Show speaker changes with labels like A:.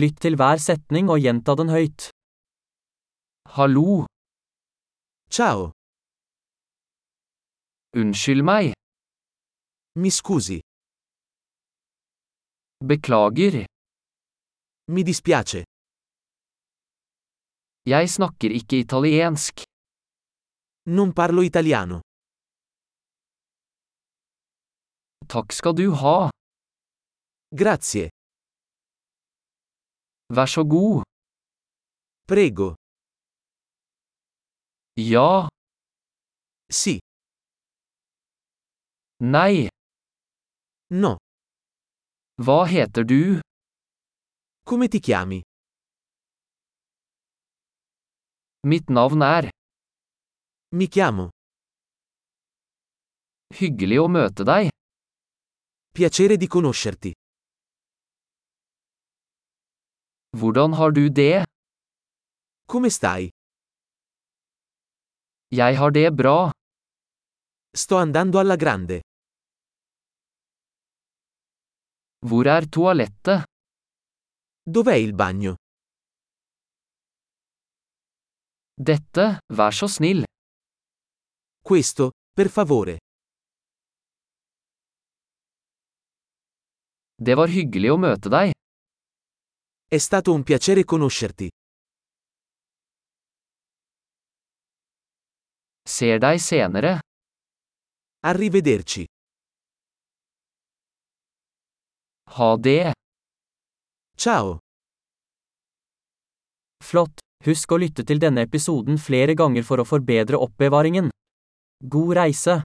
A: Lytt til hver setning og gjenta den høyt. Hallo,
B: Ciao,
A: unnskyld meg,
B: mi scusi,
A: beklager,
B: mi dispiace,
A: jeg snakker ikke italiensk.
B: non parlo italiano.
A: Takk skal du ha,
B: Grazie,
A: vær så god.
B: prego,
A: Ja,
B: sì,
A: nei,
B: no,
A: hva heter du?
B: come ti chiami?
A: Mitt navn er.
B: Mi chiamo.
A: Hyggelig å møte deg.
B: Piacere di conoscerti.
A: Hvordan har du det?
B: Come stai?
A: Jeg har det bra.
B: Sto andando alla grande.
A: Hvor er toalettet?
B: Dov'è il bagno?
A: Dette, vær så snill.
B: Questo, per favore.
A: Det var hyggelig å møte deg.
B: È stato un piacere conoscerti.
A: Ser deg senere.
B: Arrivederci.
A: Ha det.
B: Ciao.
A: Flott! Husk å lytte til denne episoden flere ganger for å forbedre oppbevaringen. God reise!